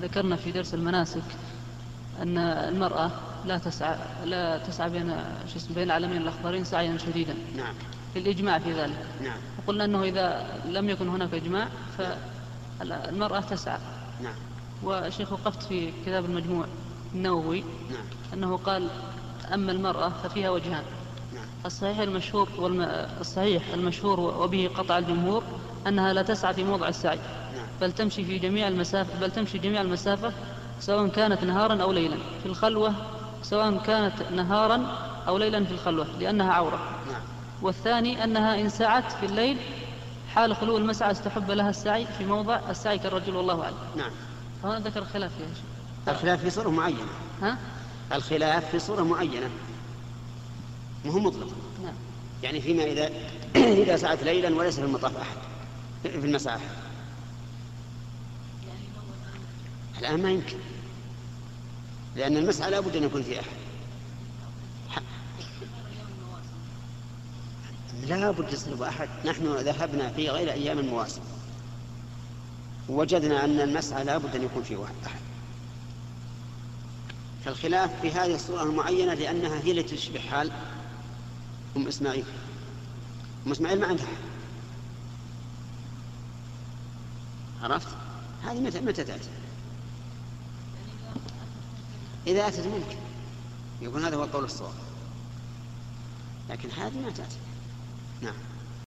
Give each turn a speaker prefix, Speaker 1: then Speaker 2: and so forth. Speaker 1: ذكرنا في درس المناسك أن المرأة لا تسعى لا تسعى بين شو اسمه بين العالمين الأخضرين سعيا شديدا
Speaker 2: نعم
Speaker 1: للإجماع في ذلك
Speaker 2: نعم
Speaker 1: وقلنا أنه إذا لم يكن هناك إجماع فالمرأة تسعى
Speaker 2: نعم
Speaker 1: وشيخ وقفت في كتاب المجموع النووي
Speaker 2: نعم
Speaker 1: أنه قال أما المرأة ففيها وجهان
Speaker 2: نعم
Speaker 1: الصحيح المشهور والم... الصحيح المشهور وبه قطع الجمهور أنها لا تسعى في موضع السعي
Speaker 2: نعم
Speaker 1: بل تمشي في جميع المسافة بل تمشي جميع المسافة سواء كانت نهارا أو ليلا في الخلوة سواء كانت نهارا أو ليلا في الخلوة لأنها عورة
Speaker 2: نعم
Speaker 1: والثاني أنها إن سعت في الليل حال خلو المسعى استحب لها السعي في موضع السعي كالرجل والله أعلم
Speaker 2: نعم
Speaker 1: فهنا ذكر خلاف يا شيخ
Speaker 2: الخلاف في صورة معينة
Speaker 1: ها؟
Speaker 2: الخلاف في صورة معينة مهم مطلق
Speaker 1: نعم
Speaker 2: يعني فيما إذا إذا سعت ليلا وليس في المطاف أحد في المساء أحد الآن ما يمكن لأن المسعى لا بد أن يكون فيه أحد ح- لا بد يصرف أحد نحن ذهبنا في غير أيام المواسم وجدنا أن المسعى لا بد أن يكون فيه واحد أحد فالخلاف في هذه الصورة المعينة لأنها هي التي تشبه حال أم إسماعيل أم إسماعيل ما عندها حق عرفت؟ هذه متى متى تأتي؟ إذا أتت ممكن يكون هذا هو القول الصواب لكن هذه ما تأتي نعم